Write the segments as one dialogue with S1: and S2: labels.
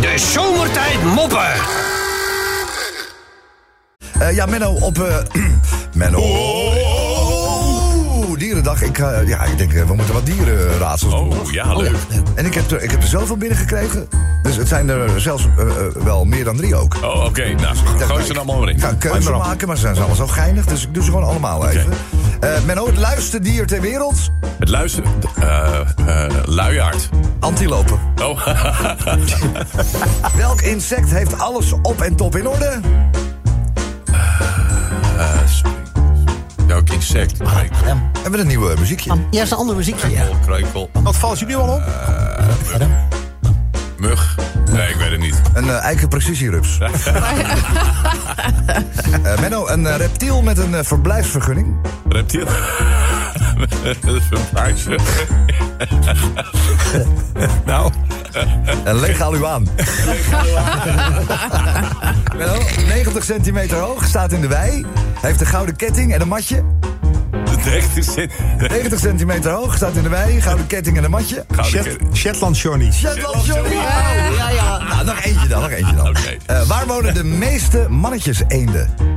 S1: De zomertijd moppen.
S2: Eh, ja, Menno op... eh, Menno. Oeh, Dierendag. Ik, ga- ja, ik denk, eh, we moeten wat dierenraadsels doen.
S3: Oh, ja, leuk.
S2: En ik heb, er, ik heb er zoveel binnengekregen. Dus het zijn er zelfs eh, eh, wel meer dan drie ook.
S3: Oh, oké. Nou, gooi ze er allemaal maar in.
S2: Ik ga een keuze
S3: Gooi maar op.
S2: maken, maar ze zijn allemaal zo geinig. Dus ik doe ze gewoon allemaal even. Eh, Menno, het luiste dier ter wereld.
S3: Het luisteren... eh eh luiaard.
S2: Antilopen.
S3: Oh,
S2: Welk insect heeft alles op en top in orde?
S3: welk insect? Kruikel,
S2: Hebben we een nieuw eh, muziekje?
S4: Ja, is een ander muziekje. Ja.
S3: kruikel.
S5: Wat valt je nu al op?
S3: Mug. Nee, ik weet het niet.
S2: Een eh, eikenprecisierups. Eh, Menno, een eh, reptiel met een eh, verblijfsvergunning.
S3: Reptiel. Verbaasd. nou,
S2: Een legaluaan. Menno, 90 centimeter hoog, staat in de wei. Heeft een gouden ketting en een matje.
S3: de rechter zit.
S2: 90 centimeter hoog, staat in de wei. Gouden ketting en een matje.
S3: Gouden
S5: Shet-
S3: kip.
S5: Shetland Johnny.
S2: Shetland Johnny. Ja, ja. Nou, nog eentje dan, nog eentje dan.
S3: Oké.
S2: Eh, waar wonen de meeste mannetjes-eenden?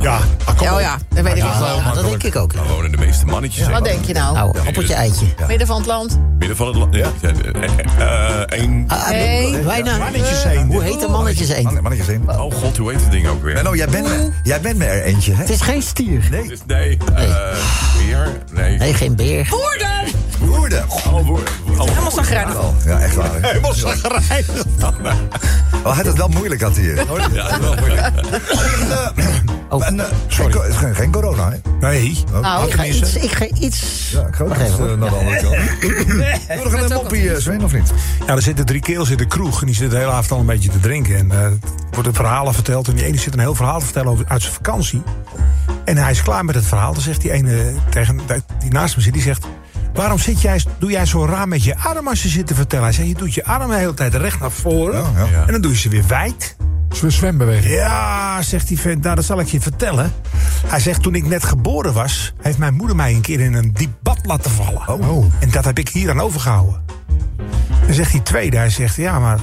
S5: Ja, ah, kom
S4: Ja,
S5: op.
S4: oh ja, dat weet ik
S5: Ja,
S4: wel.
S5: heel
S4: Ja, dat
S5: makkelijk.
S4: denk ik ook.
S3: Daar wonen de meeste mannetjes.
S4: Wat
S3: in.
S4: denk je nou?
S2: Nou,
S4: Appeltje, eitje.
S6: Midden van het land.
S3: Midden van het land. Ja. Eh, één.
S4: Ah,
S6: Nee.
S4: bijna.
S5: Mannetjes heen.
S4: Eh, Hoe heet de mannetjes eend?
S2: Man- Mannetjes-eenden.
S3: Oh god, hoe heet het ding ook weer?
S2: Menno, jij bent, me- jij bent me er eentje, hè?
S4: Het is geen stier.
S3: Het is- Nee. eh, Weer? Nee.
S4: Nee, geen beer.
S6: Woerden!
S2: Woerden.
S3: Oh, woer- oh,
S6: Helemaal zagrijnig.
S2: Oh, ja, echt waar. hè.
S5: Helemaal chagrijnig.
S2: Oh, hij had het wel moeilijk, had hij. hier.
S3: Ja, dat is wel moeilijk.
S4: Oh.
S2: En, eh, geen, co- het is geen- geen corona, hè? Oh.
S5: Nee.
S4: Nou, ik ga iets... Ik ga iets...
S2: Ja, ik ga ook
S4: Wacht even,
S2: even eh, naar de andere kant. Doe nog een moppie, eh, Sven, of niet?
S5: Ja, er zitten drie kerels in de kroeg en die zitten de hele avond al een beetje te drinken. En eh, er worden verhalen verteld en die ene zit een heel verhaal te vertellen over, uit zijn vakantie. En hij is klaar met het verhaal. Dan zegt die ene tegen die naast hem zit, die zegt... Waarom zit jij, doe jij zo raar met je arm als je zit te vertellen? Hij zegt, je doet je arm de hele tijd recht naar voren.
S2: Ja, ja.
S5: En dan doe je ze weer wijd.
S7: Zo'n zwembeweging.
S5: Ja, zegt die vent, nou dat zal ik je vertellen. Hij zegt, toen ik net geboren was... heeft mijn moeder mij een keer in een diep bad laten vallen.
S7: Oh.
S5: En dat heb ik hier aan overgehouden. Dan zegt die tweede, hij zegt, ja, maar...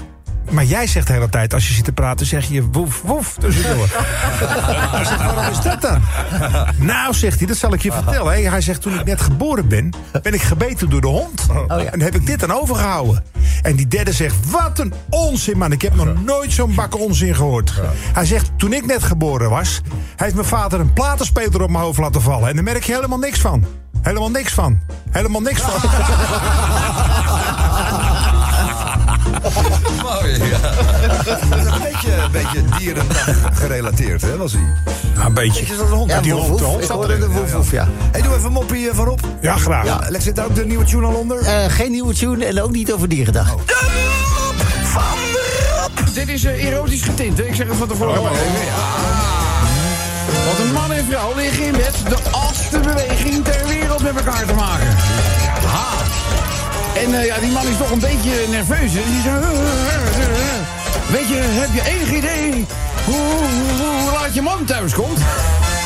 S5: Maar jij zegt de hele tijd, als je zit te praten, zeg je woef, woef, tussendoor. hij zegt, waarom is dat dan? Nou, zegt hij, dat zal ik je vertellen. hè. Hij zegt, toen ik net geboren ben, ben ik gebeten door de hond. En heb ik dit aan overgehouden. En die derde zegt, wat een onzin, man. Ik heb nog nooit zo'n bak onzin gehoord. Hij zegt, toen ik net geboren was... heeft mijn vader een platenspeler op mijn hoofd laten vallen. En daar merk je helemaal niks van. Helemaal niks van. Helemaal niks van.
S3: Oh,
S2: Mooi, ja. Een beetje, een beetje dierendag gerelateerd, hè, was hij?
S5: een beetje.
S2: Is dat een hond?
S4: Ja,
S5: die
S4: woef,
S5: hond-
S4: woef.
S5: de hond
S4: Ik
S5: zat
S4: hoorde
S5: erin.
S4: de woef, woef, ja.
S2: Hey, doe even een moppie eh, van Rob.
S5: Ja, graag.
S2: Lex, zit daar ook de nieuwe tune al onder?
S4: Eh, geen nieuwe tune en ook niet over dierendag.
S7: Dit is eh, erotisch getint, hè? ik zeg het van tevoren. maar even, ja. Want een man en vrouw liggen in bed de oudste beweging ter wereld met elkaar te maken. Ha. En eh, ja, die man is toch een beetje nerveus. hè? Die zegt, "Eh, Weet je, heb je enig idee hoe, hoe, hoe laat je man thuis komt?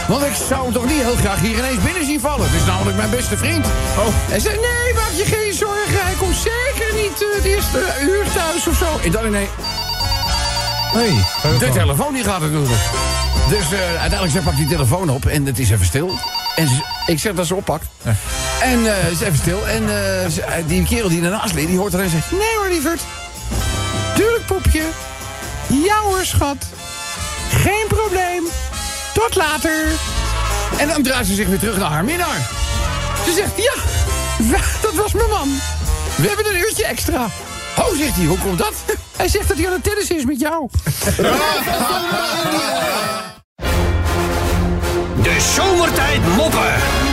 S7: Want ik zou hem toch niet heel graag hier ineens binnen zien vallen. Het is namelijk mijn beste vriend. Hij zei, nee, maak je geen zorgen. Hij komt zeker niet eh, het eerste uur thuis of zo. En dan ineens... De telefoon die gaat natuurlijk. Dus eh, uiteindelijk ze pakt die telefoon op en het is even stil. En ze- ik zeg dat ze oppakt. En eh, ze is even stil. En eh, ze- eh, die kerel die daarnaast ligt, die hoort er en zegt... Nee hoor, lieverd. Tuurlijk, poepje. Ja hoor, schat. Geen probleem. Tot later. En dan draait ze zich weer terug naar haar minnaar. Ze zegt, ja, dat was mijn man. We hebben een uurtje extra. Ho, zegt hij, hoe komt dat? Hij zegt dat hij aan het tennis is met jou.
S1: De zomertijd moppen.